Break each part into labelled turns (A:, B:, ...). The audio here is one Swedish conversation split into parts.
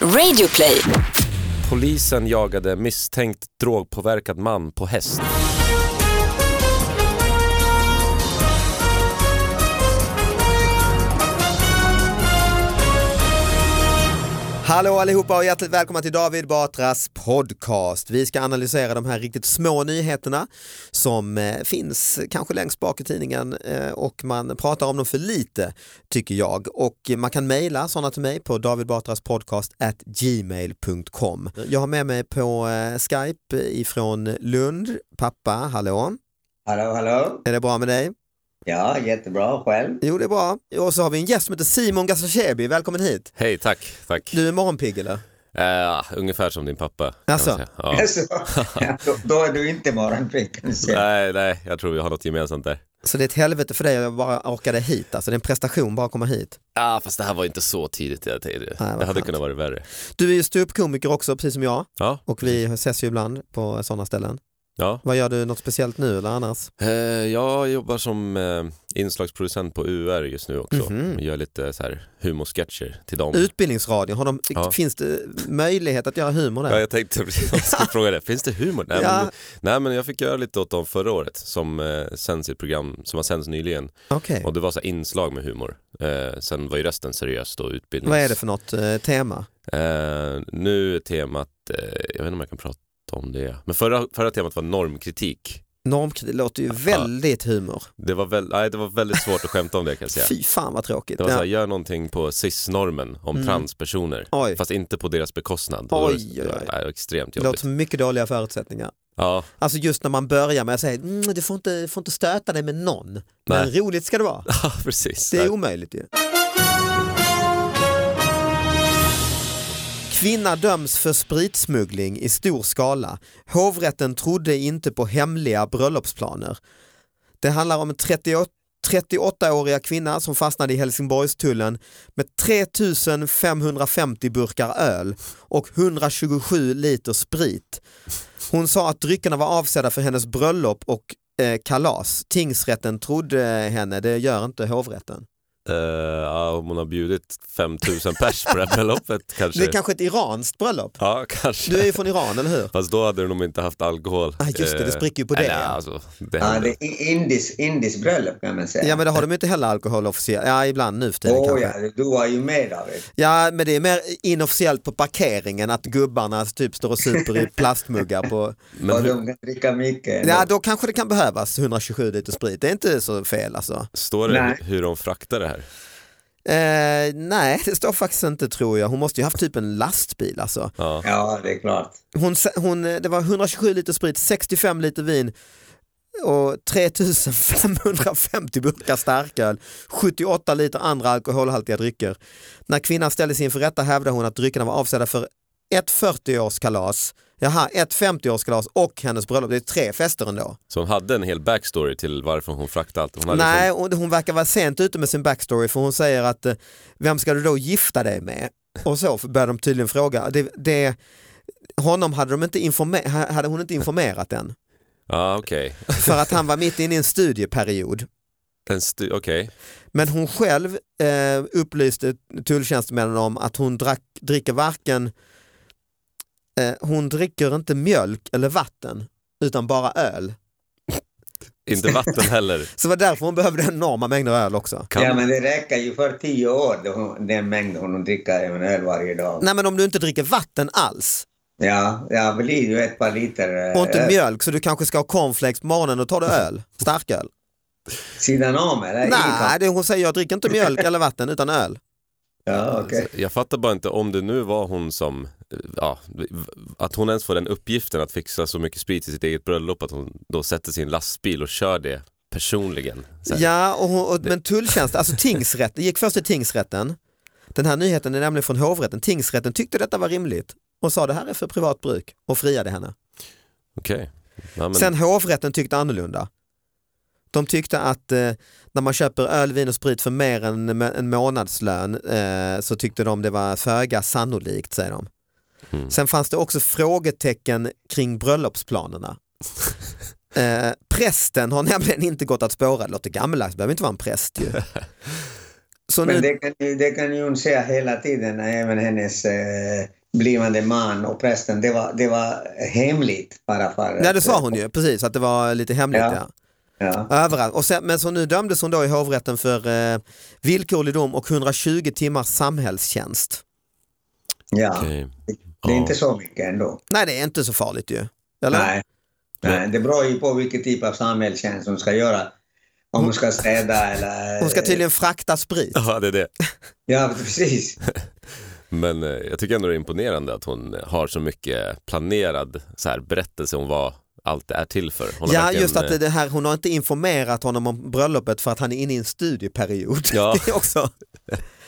A: Radioplay.
B: Polisen jagade misstänkt drogpåverkad man på häst.
C: Hallå allihopa och hjärtligt välkomna till David Batras podcast. Vi ska analysera de här riktigt små nyheterna som eh, finns kanske längst bak i tidningen eh, och man pratar om dem för lite tycker jag. Och eh, man kan mejla sådana till mig på davidbatraspodcast@gmail.com. Jag har med mig på eh, Skype ifrån Lund, pappa, hallå.
D: Hallå, hallå.
C: Är det bra med dig?
D: Ja, jättebra. Själv?
C: Jo det är bra. Och så har vi en gäst som heter Simon Gazdachebi, välkommen hit.
B: Hej, tack. tack.
C: Du är morgonpigg eller?
B: Eh, ungefär som din pappa. kan
C: Alltså?
B: man säga. Ja.
D: Så, då, då är du inte morgonpigg. kan du säga.
B: Nej, nej, jag tror vi har något gemensamt där.
C: Så det är ett helvete för dig att jag bara orkade hit, alltså det är en prestation bara att komma hit.
B: Ja, ah, fast det här var inte så tidigt. Jag tänkte. Det
C: vad
B: hade
C: skönt.
B: kunnat vara värre.
C: Du är ju ståuppkomiker också, precis som jag,
B: Ja,
C: och vi ses ju ibland på sådana ställen.
B: ja.
C: Vad gör du, något speciellt nu eller annars?
B: Eh, jag jobbar som eh, inslagsproducent på UR just nu också.
C: Mhm.
B: Gör lite så här humorsketcher till dem.
C: Utbildningsradion, har de,
B: Ja.
C: finns det möjlighet att göra humor
B: Ja,
C: där?
B: jag tänkte precis jag skulle fråga det. Finns det humor? Nej,
C: Ja.
B: men, nej, men jag fick göra lite åt dem förra året som eh, sänds i ett program som har sänds nyligen.
C: Okej,
B: Och det var så här inslag med humor. Eh, sen var ju resten seriöst och utbildnings...
C: vad är det för något eh, tema?
B: Eh, nu är temat, eh, jag vet inte om jag kan prata om det. Men förra, förra temat var normkritik.
C: Normkritik låter ju väldigt humor.
B: Det var, väl, nej, det var väldigt svårt att skämta om det kan jag säga.
C: Fy fan vad tråkigt.
B: Det var
C: Ja.
B: såhär, gör någonting på cis-normen om transpersoner.
C: Oj.
B: Fast inte på deras bekostnad. Och
C: Oj,
B: det, var,
C: oj, oj.
B: det var extremt
C: Det
B: jobbigt.
C: låter som mycket dåliga förutsättningar.
B: Ja,
C: Alltså just när man börjar med att säga mm, du får inte, får inte stöta dig med någon, men
B: Nej.
C: roligt ska det vara.
B: precis.
C: Det är omöjligt ju. Kvinna döms för spritsmuggling i stor skala. Hovrätten trodde inte på hemliga bröllopsplaner. Det handlar om en 38 38-åriga kvinna som fastnade i Helsingborgstullen med 3550 burkar öl och 127 liter sprit. Hon sa att dryckerna var avsedda för hennes bröllop och eh, kalas. Tingsrätten trodde henne, det gör inte hovrätten.
B: Eh, ja, om hon har bjudit 5000 pers på det här bröllopet kanske.
C: Det är kanske ett iranskt bröllop.
B: Ja, kanske.
C: Du är ju från Iran, eller hur?
B: Fast då hade de inte haft alkohol.
C: Ah, just det, det
B: Eh,
C: spricker ju på
B: nej,
C: det,
B: nej,
C: ja.
B: Alltså, det
D: Ja,
B: händer.
D: det är indiskt indis bröllop kan man säga.
C: Ja men det har de ju inte heller alkohol officiellt, ja ibland nu för tiden
D: Åh
C: kanske.
D: ja, du var ju med David.
C: Ja men det är mer inofficiellt på parkeringen att gubbarna typ står och super i plastmuggar på...
B: Men
D: och
B: hur-
D: de kan dricka mycket.
C: Ja
D: ändå.
C: då kanske det kan behövas 127 liter sprit, det är inte så fel alltså.
B: Står det
D: Nej.
B: hur de fraktar det här?
C: Eh, nej det står faktiskt inte tror jag, hon måste ju haft typ en lastbil alltså.
B: Ja.
D: Ja, det är klart.
C: Hon, sa- hon, eh, det var 127 liter sprit, 65 liter vin och 3550 burkar starköl, 78 liter andra alkoholhaltiga drycker. När kvinnan ställdes inför rätta hävdade hon att dryckerna var avsedda för ett 40-årskalas, jaha, ett 50-årskalas och hennes bröllop. Det är tre fester ändå.
B: Så hon hade en hel backstory till varför hon fraktade allt. Hon hade
C: Nej,
B: liksom-
C: och hon verkar vara sent ute med sin backstory för hon säger att eh, vem ska du då gifta dig med? Och så börjar de tydligen fråga. Det, det, honom hade, de inte informe- ha- hade hon inte informerat än.
B: liksom- Ja, okej.
C: för att han var mitt inne i en studieperiod.
B: En stu- Okej.
C: Men hon själv eh, upplyste tulltjänstemännen om att hon drack, dricker varken eh, hon dricker inte mjölk eller vatten utan bara öl.
B: Inte vatten heller.
C: Så det var därför hon behövde enorma mängder öl också.
B: Kan...
D: Ja, men det räcker ju för tio år, då hon, den mängd hon dricker en öl varje dag.
C: Nej men om du inte dricker vatten alls
D: Ja, ja, det blir ju ett par liter eh,
C: och inte
D: öl.
C: mjölk så du kanske ska ha cornflakes på morgonen och tar du öl, starköl.
D: sidan om eller? I
C: Nej,
D: kaffe.
C: det hon säger jag dricker inte mjölk eller vatten utan öl.
D: Ja, okej.
C: alltså,
B: Jag fattar bara inte om det nu var hon som, eh, ja, att hon ens får den uppgiften att fixa så mycket sprit till sitt eget bröllop att hon då sätter sin lastbil och kör det personligen. Så här.
C: Ja, och, hon- och, men tulltjänst, alltså tingsrätten, det gick först till tingsrätten. Den här nyheten är nämligen från hovrätten. Tingsrätten tyckte detta var rimligt och sa det här är för privat bruk och friade henne.
B: Okej. Ja, men...
C: Sen hovrätten tyckte annorlunda. De tyckte att eh, när man köper öl, vin och sprit för mer än en månadslön eh, så tyckte de det var föga sannolikt, säger de.
B: Mm.
C: Sen fanns det också frågetecken kring bröllopsplanerna. eh, prästen har nämligen inte gått att spåra, det låter gammaldags, det behöver inte vara en präst ju. Så
D: Men
C: nu,
D: det kan, ju, det kan ju hon säga hela tiden, även hennes eh, blivande man och prästen. Det var, det var hemligt bara för...
C: nej det sa hon ju, precis, att det var lite hemligt.
D: Ja.
C: Ja.
D: Ja.
C: Överallt. Och sen, men så nu dömdes hon då i hovrätten för eh, villkorlig dom och 120 timmars samhällstjänst.
D: ja.
B: Okej.
D: Det är
B: Ja.
D: inte så mycket ändå.
C: Nej det är inte så farligt ju. Eller?
D: Nej. Nej. Det beror ju på vilken typ av samhällstjänst hon ska göra. Om hon ska städa eller...
C: Hon ska tydligen frakta sprit.
B: Ja, det är det.
D: Ja, precis.
B: Men eh, jag tycker ändå det är imponerande att hon har så mycket planerad så här, berättelse om vad allt det är till för. Hon har
C: Ja,
B: verkligen,
C: just att det-
B: eh,
C: det här, hon har inte informerat honom om bröllopet för att han är inne i en studieperiod.
B: Ja.
C: Det är också,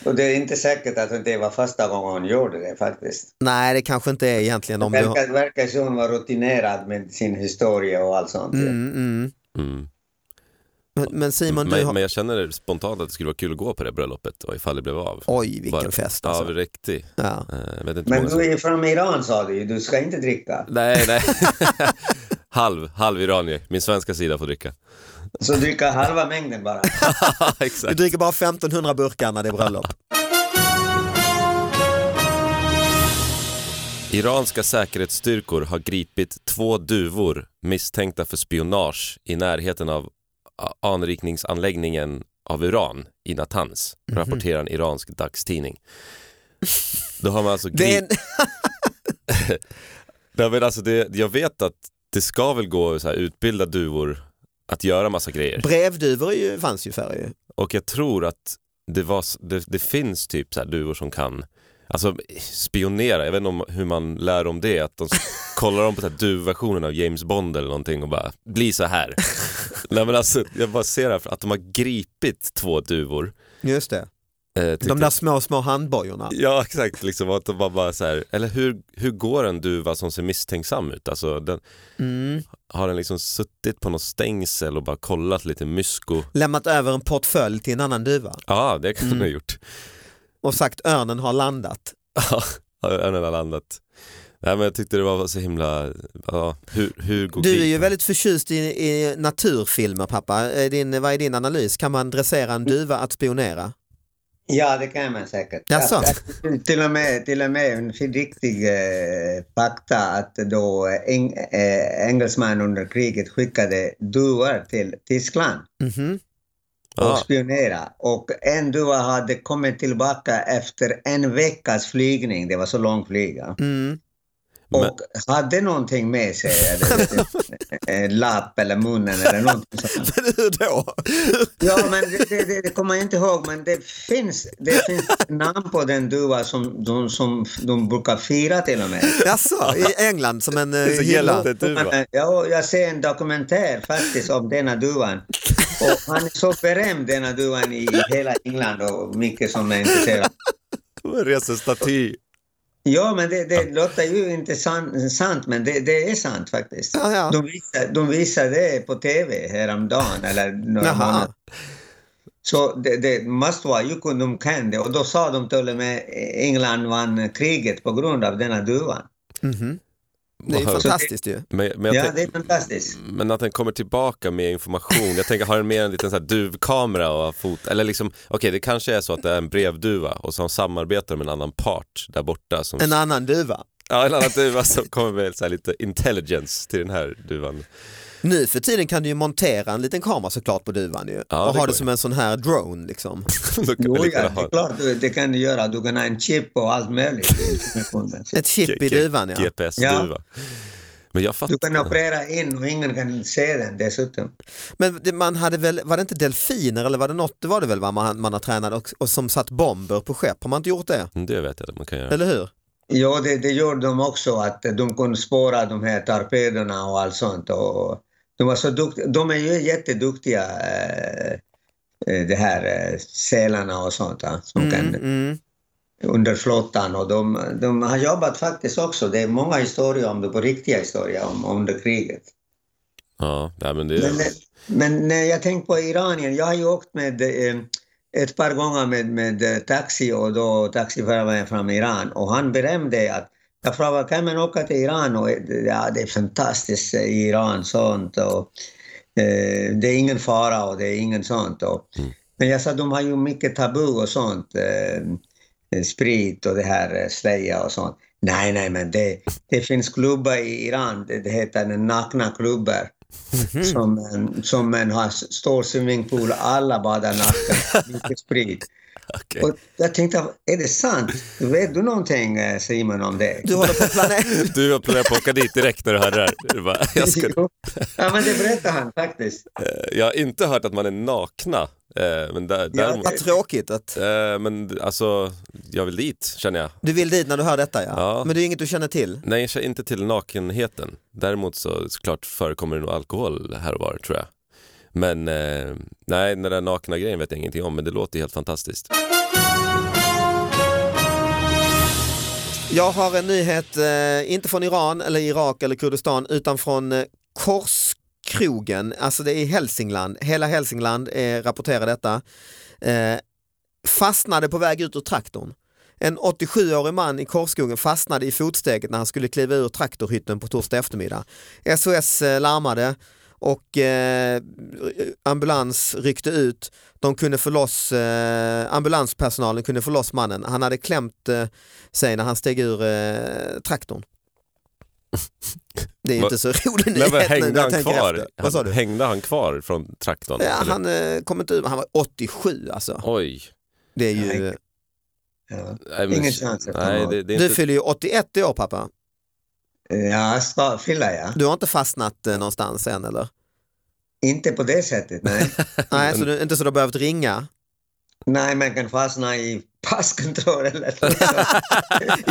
D: Och det är inte säkert att det var första gången hon gjorde det faktiskt.
C: nej, det kanske inte är egentligen om du har...
D: Verkar, verkar som hon var rutinerad med sin historia och allt sånt.
C: Mm, mm.
B: mm.
C: Men- Men Simon, du
B: men,
C: har...
B: men jag känner spontant att det skulle vara kul att gå på det bröllopet och ifall det blev av.
C: Oj, vilken
B: Bara-
C: fest
B: Ja,
C: alltså.
B: riktigt.
C: Ja.
B: Eh, Jag vet inte
D: Men
B: många som-
D: du är från Iran sa du ju, du ska inte dricka.
B: Nej, nej. halv, halv iranier. Min svenska sida får dricka.
D: Så dricka halva mängden bara.
C: Du
B: Exakt.
C: dricker bara 1500 burkar när det är bröllop.
B: Iranska säkerhetsstyrkor har gripit två duvor misstänkta för spionage i närheten av a- anrikningsanläggningen av uran i Natanz,
C: Mhm.
B: rapporterar en iransk dagstidning. Då har man alltså
C: Det är
B: gripit...
C: en...
B: Nej, men alltså det, jag vet att det ska väl gå att så här utbilda duvor att göra massa grejer.
C: Brevduvor är ju, fanns ju förr ju.
B: Och jag tror att det, var, s- det, det finns typ så här duvor som kan alltså, spionera. Jag vet inte om, hur man lär om det. Att de s- kollar om på så här duvversionen av James Bond eller någonting och bara bli så här. Nej, men alltså, jag bara ser här att de har gripit två duvor.
C: Just det.
B: Eh, typ-
C: De där små, små handbojorna.
B: Ja exakt, liksom, att de bara, bara så här, eller hur, hur går en duva som ser misstänksam ut? Alltså, den,
C: Mm.
B: har den liksom suttit på något stängsel och bara kollat lite mysko?
C: Lämnat över en portfölj till en annan duva
B: Ja, det kan
C: Mm.
B: den ha gjort.
C: och sagt örnen har landat.
B: Ja, än alla landet. Nej men jag tyckte det var så himla, ja, hur, hur går
C: Du är ju
B: gripen?
C: väldigt förtjust i, i naturfilmer pappa. Är Din, vad är din analys? Kan man dressera en duva att spionera?
D: Ja, det kan man säkert.
C: Jaså?
D: Att- Till och med, till och med en riktig eh, fakta att då eng, eh, engelsmän under kriget skickade duvor till Tyskland
C: Mhm.
D: och
B: ja,
D: spionera. Och en duva hade kommit tillbaka efter en veckas flygning, det var så lång flyga.
C: Mm.
B: men,
D: Och hade någonting med sig, eller, en lapp eller munnen eller någonting sånt.
C: Men hur då?
D: Ja, men det, det, det, det kommer jag inte ihåg, men det finns, det finns namn på den duva som de, som de brukar fira till och med.
C: Jaså, i England som en eh,
B: det är så typ.
C: hylla?
B: gällande duva.
D: Men, Ja, jag ser en dokumentär faktiskt om denna duvan. Och han är så berömd, denna duvan, i hela England och mycket som är intresserad.
B: Man reser staty.
D: Ja, men det, det låter ju inte san, sant, men det, det är sant faktiskt.
C: Ja, ja.
D: De, visar, de visar det på tv häromdagen eller några
C: Jaha.
D: månader. Så det, det måste vara ju kun de kan det. Och då sa de till och med England vann kriget på grund av denna duvan.
C: Mhm. Det är ju
B: Wow.
C: fantastiskt ju.
B: Men, men, jag
D: Ja,
B: tänk-
D: det är fantastiskt.
B: men att den kommer tillbaka med information. Jag tänker, har den med en liten så här duvkamera och fot? Eller liksom, okej det kanske är så att det är en brevduva och som samarbetar med en annan part där borta. Som,
C: En annan duva.
B: ja, en annan duva som kommer med så här lite intelligence till den här duvan.
C: Nu för tiden kan du ju montera en liten kamera såklart på duvan ju.
B: Ja,
C: och
B: det
C: ha
B: går
C: det
B: ju.
C: som en sån här drone liksom.
B: Då kan
D: Jo,
B: vi lika
D: ja,
B: gärna
D: det
B: ha
D: är klart du- det kan du göra. Du kan ha en chip och allt möjligt.
C: Ett chip
B: G-
C: i
B: G-
C: duvan ja.
B: GPS-duva. Men jag
D: Du kan
B: fattar.
D: operera in och ingen kan se den dessutom.
C: Men det- man hade väl, var det inte delfiner eller var det något, det var det väl vad man, man har tränat och, och som satt bomber på skepp, har man inte gjort det?
B: Mm, Det vet jag att man kan göra.
C: Eller hur?
D: Ja, det, det gjorde de också, att de kunde spåra de här torpederna och allt sånt. Och de, var så dukt, de är ju jätteduktiga, eh, eh, de här eh, sälarna och sånt, va, som
C: Mm,
D: kan,
C: mm.
D: under flottan. Och de, de har jobbat faktiskt också. Det är många historier om det, på riktiga historier om, om det kriget.
B: Ja, nej, men det
D: Men, men när jag tänker på Iranien, jag har ju åkt med eh, ett par gånger med, med eh, taxi och då taxiföraren från Iran och han berömde att jag frågade kan man åka till Iran och eh, ja, det är fantastiskt eh, i Iran sånt och eh, det är ingen fara och det är ingen sånt. Och, Men jag sa de har ju mycket tabu och sånt. Eh, sprit och det här eh, slöja och sånt. Nej, nej, men det, det finns klubbar i Iran. Det, det heter nakna klubbar.
B: Mhm.
D: Som, en- som en har s- stor swimmingpool och alla badar nakna. Mycket sprit.
B: Okej.
D: Och jag tänkte, är det sant? Vet du någonting eh, Simon om det?
C: Du håller på att planera.
B: Du planerar på att åka dit direkt när du hörde det här. Du bara, jag, ska,
D: Jo. Ja, men det berättade han faktiskt.
B: eh, jag har inte hört att man är nakna. eh, Men, där, däremot,
C: Vad tråkigt att
B: eh, men alltså, jag vill dit känner jag.
C: du vill dit när du hör detta ja.
B: Ja.
C: Men det är inget du känner till.
B: Nej, jag känner inte till nakenheten. Däremot så såklart förekommer det nog alkohol här och var tror jag. Men eh, nej, den där nakna grejen vet jag ingenting om, men det låter helt fantastiskt.
C: Jag har en nyhet, eh, inte från Iran eller Irak eller Kurdistan utan från eh, Korskrogen, alltså det är i Hälsingland. Hela Hälsingland eh, rapporterar detta. Eh, fastnade på väg ut ur traktorn. En 87-årig man i Korskogen fastnade i fotsteget när han skulle kliva ur traktorhytten på torsdag eftermiddag. SOS eh, larmade och eh, ambulans ryckte ut. De kunde få loss, eh, ambulanspersonalen kunde få loss mannen. Han hade klämt eh, sig när han steg ur eh, traktorn. Det är ju
B: Va-
C: inte så rolig
B: Nej,
C: nyhet
B: men
C: nu
B: hängde
C: när jag
B: han
C: tänker
B: kvar?
C: efter. Vad sa
B: Han,
C: du?
B: hängde han kvar från traktorn?
C: Ja,
B: eller?
C: han eh, kom inte ur, han var 87 alltså.
B: Oj.
C: Det är ju,
D: Ja,
B: Nej,
D: Ingen chans att han
B: nej,
D: har-
B: det, det är
C: du
B: inte...
C: fyller ju 81 i år pappa.
D: ja ska, fylla ja.
C: Du har inte fastnat eh, någonstans än eller?
D: Inte på det sättet, nej.
C: Nej, så du, inte så du har behövt ringa
D: nej, man kan fastna i passkontroll eller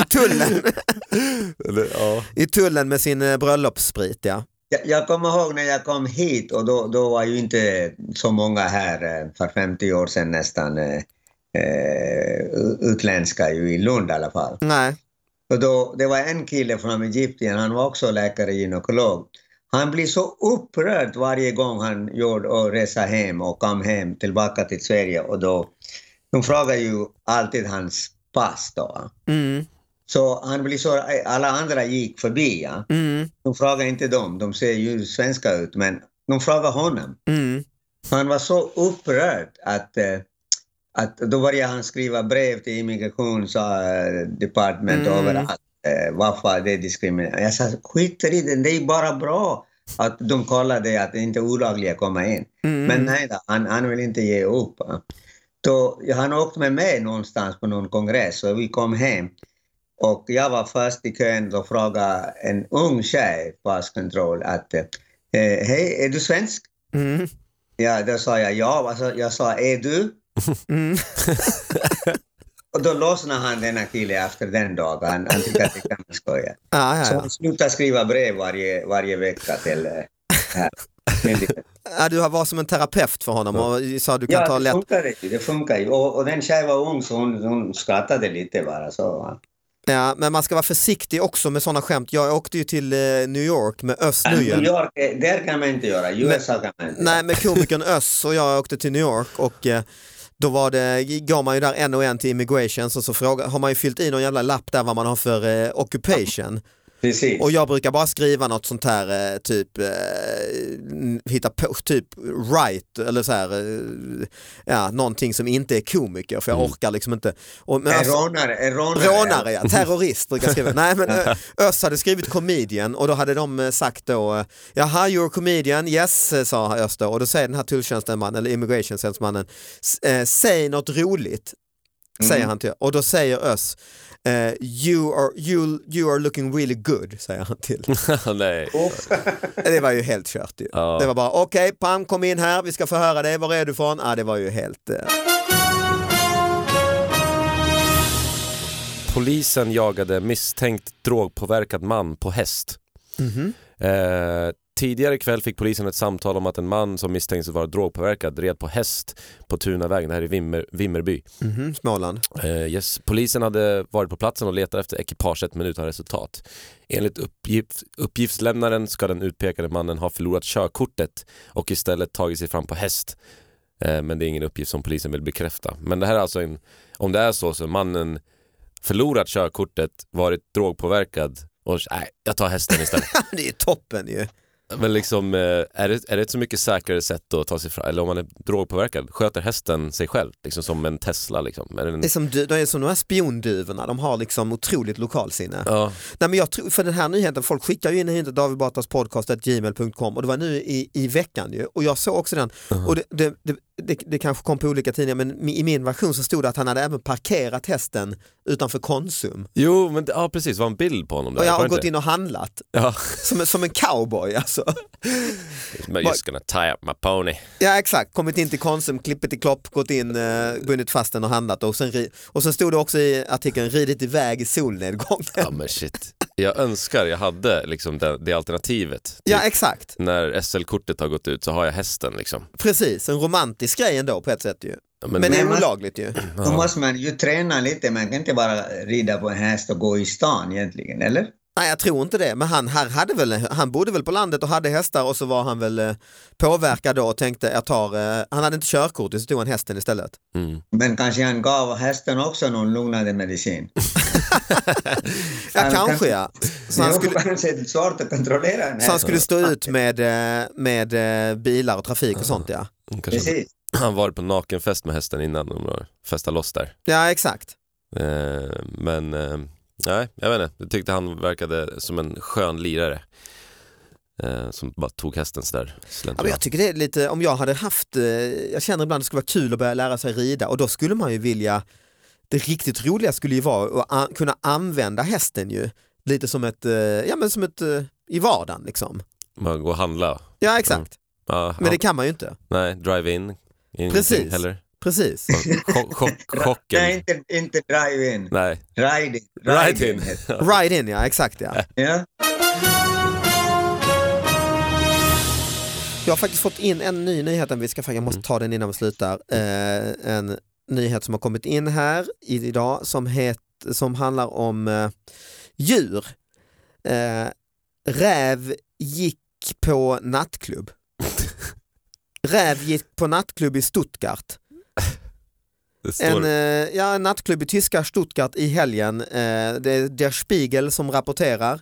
C: i tullen,
B: Eller, ja.
C: I tullen med sin eh, bröllopssprit ja.
D: jag, jag kommer ihåg när jag kom hit och då, då var ju inte så många här eh, för 50 år sedan nästan eh, eh, utländska ju i Lund i alla fall.
C: Nej,
D: Och då, det var en kille från Egypten, han var också läkare, gynekolog. Han blev så upprörd varje gång han gjorde och resa hem och kom hem tillbaka till Sverige. Och då, de frågar ju alltid hans pass då. va.
C: mm,
D: Så han blir så, eh, alla andra gick förbi. Ja.
C: mm,
D: De frågar inte dem, de ser ju svenska ut, men de frågar honom.
C: mm.
D: Han var så upprörd att, eh, att då började han skriva brev till immigrationsdepartementet
C: Mm.
D: överallt. Eh, Varför det är diskriminering. Jag sa skiter i det, det är bara bra att de kollade att det inte är olagliga att komma in.
C: Mm.
D: Men nej, då, han, han vill inte ge upp. va. Då, ja, han åkte med mig någonstans på någon kongress och vi kom hem. Och jag var först i kön och frågade en ung tjej på passkontroll att eh, hej, är du svensk?
C: Mm,
D: Ja, då sa jag ja. Alltså, jag sa är du?
C: mm.
D: Och då lossnade han denna kille efter den dagen. Han, han tyckte att det kan man skoja.
C: Ja, ja,
D: Så
C: ja.
D: han slutade skriva brev varje, varje vecka till eh, här. myndigheten.
C: ja, du har varit som en terapeut för honom och sa du kan ta
D: Ja, det
C: lätt.
D: funkar ju. Det funkar ju. Och, och den tjejen var ung så hon, hon skrattade lite bara. Så. va.
C: Ja, men man ska vara försiktig också med sådana skämt. Jag åkte ju till eh, New York med Öss
D: Men New
C: Nguyen.
D: York, eh, där kan man inte göra. USA kan man inte
C: Nej, men komikern Öss och jag åkte till New York och eh, då var det, går man ju där en och en till immigrations och så frågar, har man ju fyllt i någon jävla lapp där vad man har för eh, occupation.
D: Precis.
C: Och jag brukar bara skriva något sånt här eh, typ, eh, n- hitta på, typ right eller så här, eh, ja, någonting som inte är komiker för jag orkar liksom inte. Och, men
D: En
C: Öss-
D: rånare. En rånare.
C: Rånare ja, terrorist brukar jag skriva. Nej men Ö- Öss hade skrivit comedian och då hade de eh, sagt då, eh, jaha you're a comedian, yes eh, sa Öss då och då säger den här tulltjänstemannen, eller immigrationstjänstemannen, "S- eh, säg något roligt, säger han till och då säger Öss, eh, you, are, you, you are looking really good, säger han till.
B: nej.
C: Det var ju helt kört ju.
B: Ja.
C: Det var bara okej, pam kom in här, vi ska få höra dig, var är du från? Ja, det var ju helt... Eh...
B: Polisen jagade misstänkt drogpåverkad man på häst. Eh, tidigare ikväll fick polisen ett samtal om att en man som misstänks vara drogpåverkad red på häst på Tunavägen, det här är Vimmer, Vimmerby.
C: Mhm, Småland.
B: Eh, yes. Polisen hade varit på platsen och letat efter ekipaget men utan resultat. Enligt uppgift, uppgiftslämnaren ska den utpekade mannen ha förlorat körkortet och istället tagit sig fram på häst. Eh, men det är ingen uppgift som polisen vill bekräfta. Men det här är alltså en, om det är så så har mannen förlorat körkortet, varit drogpåverkad och nej, jag tar hästen istället.
C: det är toppen ju.
B: Men liksom, eh, är det, är det ett så mycket säkrare sätt att ta sig fram, eller om man är drogpåverkad, sköter hästen sig själv? Liksom som en Tesla liksom? Är det en,
C: Det är som, du- det är som de här spionduvorna, de har liksom otroligt lokalsinne.
B: ja,
C: Nej, men jag tror, för den här nyheten, folk skickar ju in nyheten David Batras podcast at gmail.com och det var nu i, i veckan ju och jag såg också den. Och det, det, det, det, det kanske kom på olika tidningar men mi- i min version så stod det att han hade även parkerat hästen utanför Konsum.
B: jo, men det- ja, precis, det var en bild på honom där.
C: och jag
B: var
C: har
B: det
C: gått
B: inte
C: in och handlat
B: det? Ja.
C: som, en- som en cowboy alltså.
B: I'm just gonna tie up my pony.
C: Ja exakt, kommit in till Konsum, klippet i klopp, gått in, eh, bundit fast den och handlat och sen, ri- och sen stod det också i artikeln ridit iväg i solnedgången.
B: Ja men shit. Jag önskar jag hade liksom det, det alternativet. Typ,
C: Ja exakt,
B: När SL-kortet har gått ut så har jag hästen liksom.
C: precis, en romantisk grej ändå på ett sätt ju.
B: Ja,
C: Men det är
D: Men-
C: olagligt ju.
D: Då måste man ju träna lite, man kan inte bara rida på en häst och gå i stan egentligen, eller?
C: Nej jag tror inte det, men han, här hade väl, han bodde väl på landet och hade hästar och så var han väl eh, påverkad då och tänkte jag tar, eh, han hade inte körkort så tog han hästen istället.
B: mm.
D: Men kanske han gav hästen också någon lugnande medicin.
C: Ja
D: Han-
C: kanske ja. Så han, skulle,
D: Kanske är det svårt att kontrollera en
C: så han
D: häst.
C: skulle stå ut med, eh, med eh, bilar och trafik och sånt ja.
B: Kanske
D: Precis.
B: han var på nakenfest med hästen innan de festade loss där.
C: Ja exakt.
B: Eh, men eh, nej, jag vet inte. Jag tyckte han verkade som en skön lirare. Eh, som bara tog hästen sådär
C: Ja, men jag
B: slentrianmässigt.
C: tycker det är lite, om jag hade haft, eh, jag känner ibland det skulle vara kul att börja lära sig rida och då skulle man ju vilja, det riktigt roliga skulle ju vara att an- kunna använda hästen ju, lite som ett, eh, ja men som ett, eh, i vardagen liksom.
B: Man går och handla.
C: Ja exakt,
B: Ja,
C: men det
B: ja,
C: kan man ju inte.
B: Nej, drive-in. Ingenting
C: Precis.
B: Heller.
C: Precis.
B: Chock, chock, chocken.
D: Nej, inte, inte drive-in.
B: nej.
D: Ride-in.
B: Ride-in.
C: Ride in ja, exakt ja.
D: Ja.
C: Jag har faktiskt fått in en ny nyhet, vi ska, jag måste ta den innan vi slutar. Eh, en nyhet som har kommit in här i- idag som, het, som handlar om eh, djur. Eh, räv gick på nattklubb. räv gick på nattklubb i Stuttgart.
B: Det står...
C: En, eh, ja, en nattklubb i tyska Stuttgart i helgen. Eh, det är Der Spiegel som rapporterar.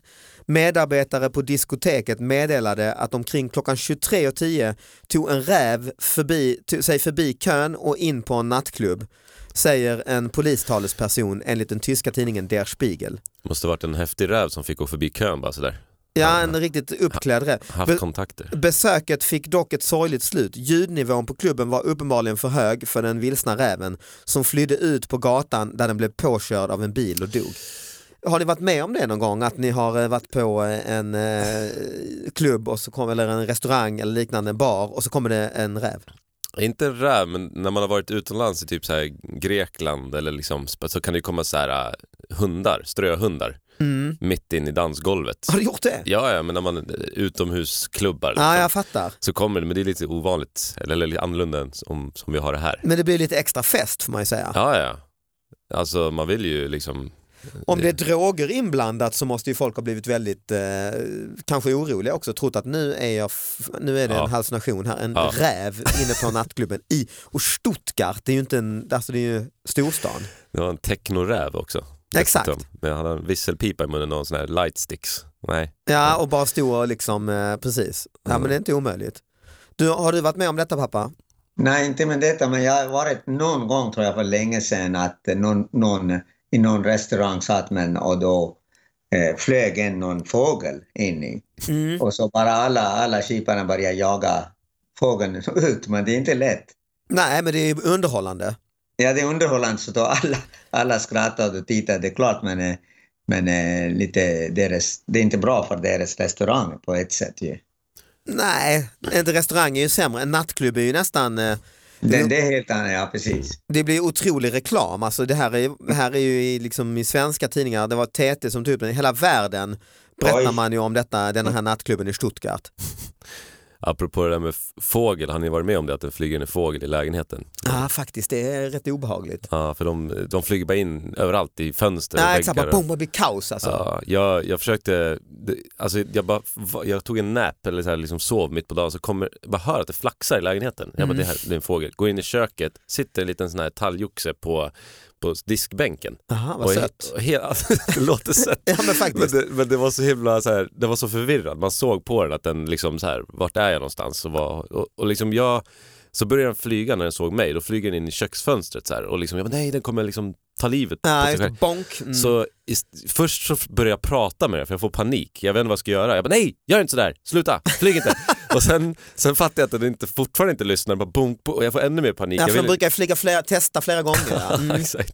C: Medarbetare på diskoteket meddelade att omkring klockan 23.10 tog en räv förbi, tog sig förbi kön och in på en nattklubb, säger en polistalesperson enligt den tyska tidningen Der Spiegel.
B: Måste varit en häftig räv som fick gå förbi kön bara sådär.
C: Ja, en riktigt uppklädd räv.
B: Haft
C: Men-
B: kontakter.
C: Besöket fick dock ett sorgligt slut. Ljudnivån på klubben var uppenbarligen för hög för den vilsna räven som flydde ut på gatan där den blev påkörd av en bil och dog. Har ni varit med om det någon gång? Att ni har eh, varit på eh, en eh, klubb och så kom, eller en restaurang eller liknande, en bar och så kommer det en räv?
B: Inte en räv, men när man har varit utomlands i typ så här Grekland eller liksom, sp- så kan det ju komma så här äh, hundar, ströhundar, mitt in i dansgolvet.
C: Mm. Har du gjort det?
B: Ja, ja, men när man eh, utomhusklubbar liksom,
C: Ja, jag fattar.
B: så kommer det, men det är lite ovanligt, eller, eller lite annorlunda än som, som vi har det här.
C: Men det blir lite extra fest får man ju säga.
B: Ja, ja. Alltså man vill ju liksom,
C: Om det är droger inblandat så måste ju folk ha blivit väldigt eh, kanske oroliga också trott att nu är, jag f- nu är det
B: Ja.
C: en hallucination här, en
B: Ja.
C: räv inne på nattklubben i och Stuttgart, det är ju inte en, alltså det är ju storstan.
B: det var en technoräv också.
C: Exakt.
B: dessutom. Men han hade en visselpipa i munnen och en sån här lightsticks. Nej.
C: Ja och bara stå och liksom, eh, precis, ja men det är inte omöjligt. Du, har du varit med om detta pappa?
D: Nej, inte med detta, men jag har varit någon gång, tror jag, för länge sedan, att någon, någon i någon restaurang satt man och då eh, flög en någon fågel in i. Och så bara alla, alla kiparna började jaga fågeln ut, men det är inte lätt.
C: Nej men det är ju underhållande.
D: Ja, det är underhållande, så då alla, alla skrattade och tittade, det är klart, men, eh, men eh, lite deras, det är inte bra för deras restaurang på ett sätt ju.
C: Nej, inte restaurang är ju sämre, en nattklubb är ju nästan eh,
D: Det, det är helt annat, ja precis.
C: Det blir otrolig reklam, alltså det här är, det här är ju i, liksom, i svenska tidningar, det var TT som tog upp den, i hela världen berättar
D: Oj.
C: man ju om detta, den här nattklubben i Stuttgart.
B: Apropå det där med f- fågel, har ni varit med om det att det flyger in en fågel i lägenheten?
C: Ja faktiskt, det är rätt obehagligt.
B: Ja, för de, de flyger bara in överallt i fönster och
C: Nej
B: väggar
C: exakt, bara
B: och-
C: boom, det blir kaos alltså.
B: Ja, jag, jag försökte, det- alltså jag, bara, va- jag tog en nap eller så här, liksom sov mitt på dagen så kommer, jag bara hör att det
C: Mm.
B: flaxar i lägenheten. Jag bara, det, här, det är en fågel. Går in i köket, sitter en liten sån här talgoxe på, på diskbänken.
C: Aha, vad
B: Och he-
C: sött.
B: och hela, det låter sött.
C: Ja men
B: Men
C: faktiskt.
B: det, men det var så himla så här, det var så förvirrad. Man såg på den att den liksom så här, vart är jag någonstans? Och, var, och, och liksom jag, så började den flyga när den såg mig, då flyger den in i köksfönstret så här, och liksom, jag bara, nej den kommer liksom ta livet på
C: Ja,
B: sig
C: just
B: själv.
C: det. Bonk. Mm.
B: Så ist- först så börjar jag prata med den för jag får panik. Jag vet inte vad jag ska göra. Jag bara nej, gör inte sådär, sluta, flyg inte. och sen, sen fattar jag att den inte, fortfarande inte lyssnar, bara bunk, bunk, och jag får ännu mer panik.
C: ja,
B: jag
C: för
B: vill-
C: de brukar flyga flera, testa flera gånger. Ja. Mm.
B: Exakt.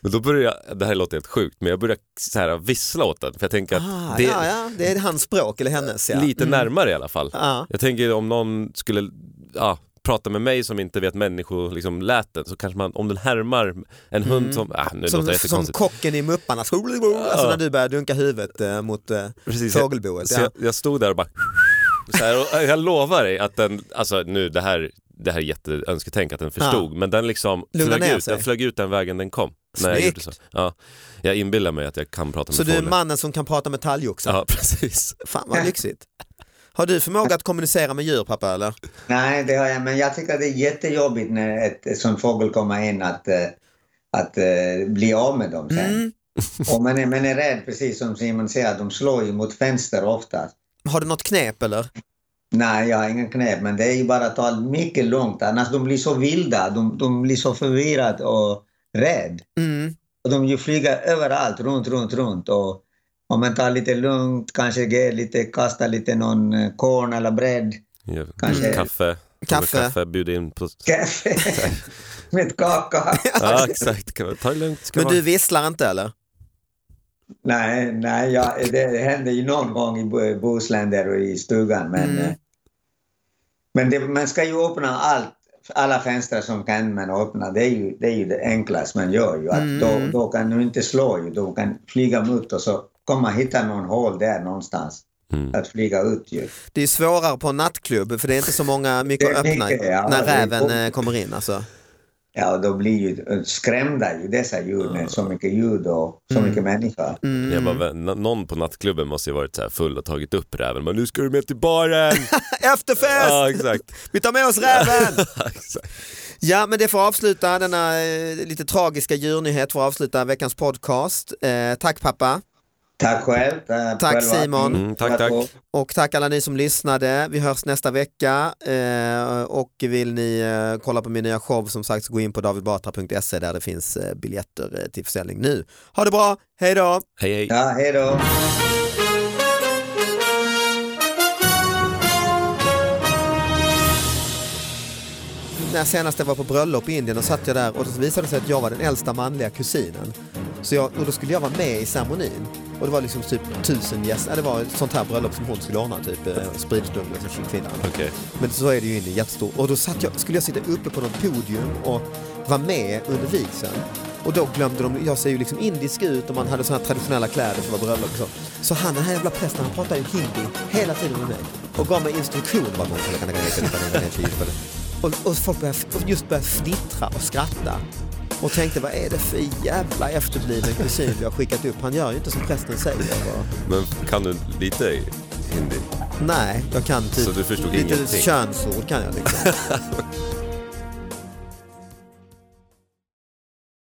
B: Men då börjar jag, det här låter helt sjukt, men jag börjar så här vissla åt den för jag tänker att
C: Ah,
B: det är
C: ja, ja, det är hans språk eller hennes. Ja.
B: lite
C: Mm.
B: närmare i alla fall.
C: Ja.
B: Jag tänker om någon skulle ja, prata med mig som inte vet människoläten liksom, läten, så kanske man, om den härmar en hund som, ah, nu låter det
C: Mm. Som, som
B: jättekonstigt.
C: kocken i Mupparna, alltså när du börjar dunka huvudet eh, mot eh,
B: Precis, jag-
C: fågelboet.
B: Så
C: Ja.
B: jag, jag stod där och bara så här, och jag lovar dig att den, alltså nu det här, det här är jätteönsketänk att den förstod, men den liksom
C: Lugna
B: flög
C: ner
B: ut,
C: sig.
B: den flög ut den vägen den kom. När jag,
C: Snyggt.
B: gjorde så. Ja, jag inbillar mig att jag kan prata med
C: Så du är
B: fåglar.
C: mannen som kan prata med talgoxar.
B: Ja, precis.
C: Fan vad lyxigt. Har du förmåga att kommunicera med djur pappa eller?
D: Nej, det har jag, men jag tycker det är jättejobbigt när ett, ett sånt fågel kommer in att, eh, att eh, bli av med dem sen.
C: Mm.
D: Och man, är, man är rädd, precis som Simon säger, att de slår ju mot fönster oftast.
C: Har du något knep eller?
D: Nej, jag har ingen knep, men det är ju bara att ta mycket långt, annars de blir så vilda, de, de blir så förvirrade och rädd.
C: Mm.
D: Och de ju flyger överallt, runt, runt, runt. Och om man tar lite lugnt, kanske ger lite, kastar lite någon eh, korn eller bröd,
B: Ja,
D: Kanske-
B: Kaffe,
C: Kaffe.
B: kaffe bjud in på...
D: kaffe med kaka.
B: Ja, exakt. Kan man- Ta det lugnt. Ska
C: Men
B: man...
C: du visslar inte eller?
D: Nej, nej jag, det hände ju någon gång i Bo- Bohuslän där och i stugan. Men,
C: Mm.
D: eh, men det, man ska ju öppna allt, alla fönster som kan man öppna. Det är ju det, är ju det enklaste man gör. Ju, att
C: Mm.
D: då, då kan du inte slå, ju, då kan flyga mot och så kommer man hitta någon hål där någonstans
B: Mm.
D: att flyga ut. Ju.
C: Det är svårare på en nattklubb för det är inte så många mycket
D: Det
C: att
D: är
C: öppna
D: mycket, ja.
C: när
D: Det är
C: räven
D: gott.
C: eh, kommer in alltså.
D: Ja, och då blir ju eh, skrämda ju dessa djur med så mycket ljud och så mycket människor.
C: Mm.
B: Jag bara, "Nå- någon på nattklubben måste ju varit så här full och tagit upp räven. Men nu ska du med till baren!
C: Efterfest!
B: ja, exakt.
C: Vi tar med oss räven!
B: exakt.
C: Ja, men det får avsluta denna eh, lite tragiska djurnyhet för att avsluta veckans podcast. Eh, tack pappa
D: Tack själv. Tack,
C: Tack,
D: själva.
C: Simon.
B: Mm, tack, tack.
C: och tack alla ni som lyssnade. Vi hörs nästa vecka eh, och vill ni eh, kolla på min nya show som sagt så gå in på davidbatra.se där det finns eh, biljetter eh, till försäljning nu. Ha det bra, hej då!
B: Hej, hej.
D: Ja, hej då.
C: När jag senast jag var på bröllop i Indien och satt jag där och då visade det sig att jag var den äldsta manliga kusinen. Så jag, och då skulle jag vara med i ceremonin. Och det var liksom typ tusen gäster, Ja, det var ett sånt här bröllop som hon skulle ordna, typ eh, spridstund liksom, för kvinnan.
B: Okej.
C: Men så är det ju inne jättestort. Och då satt jag, skulle jag sitta uppe på något podium och vara med under vigseln. Och då glömde de, jag ser ju liksom indisk ut och man hade såna här traditionella kläder som var bröllop och så. Så han den här jävla prästen han pratade ju hindi hela tiden med mig. Och gav mig instruktioner varje gång. Och, och folk började, och just började fnittra och skratta. Och tänkte vad är det för jävla efterbliven kusin vi har skickat upp? Han gör ju inte som prästen säger. Och,
B: Men kan du lite hindi?
C: nej, jag kan typ
B: Så du förstod
C: lite
B: ingenting?
C: könsord kan jag liksom.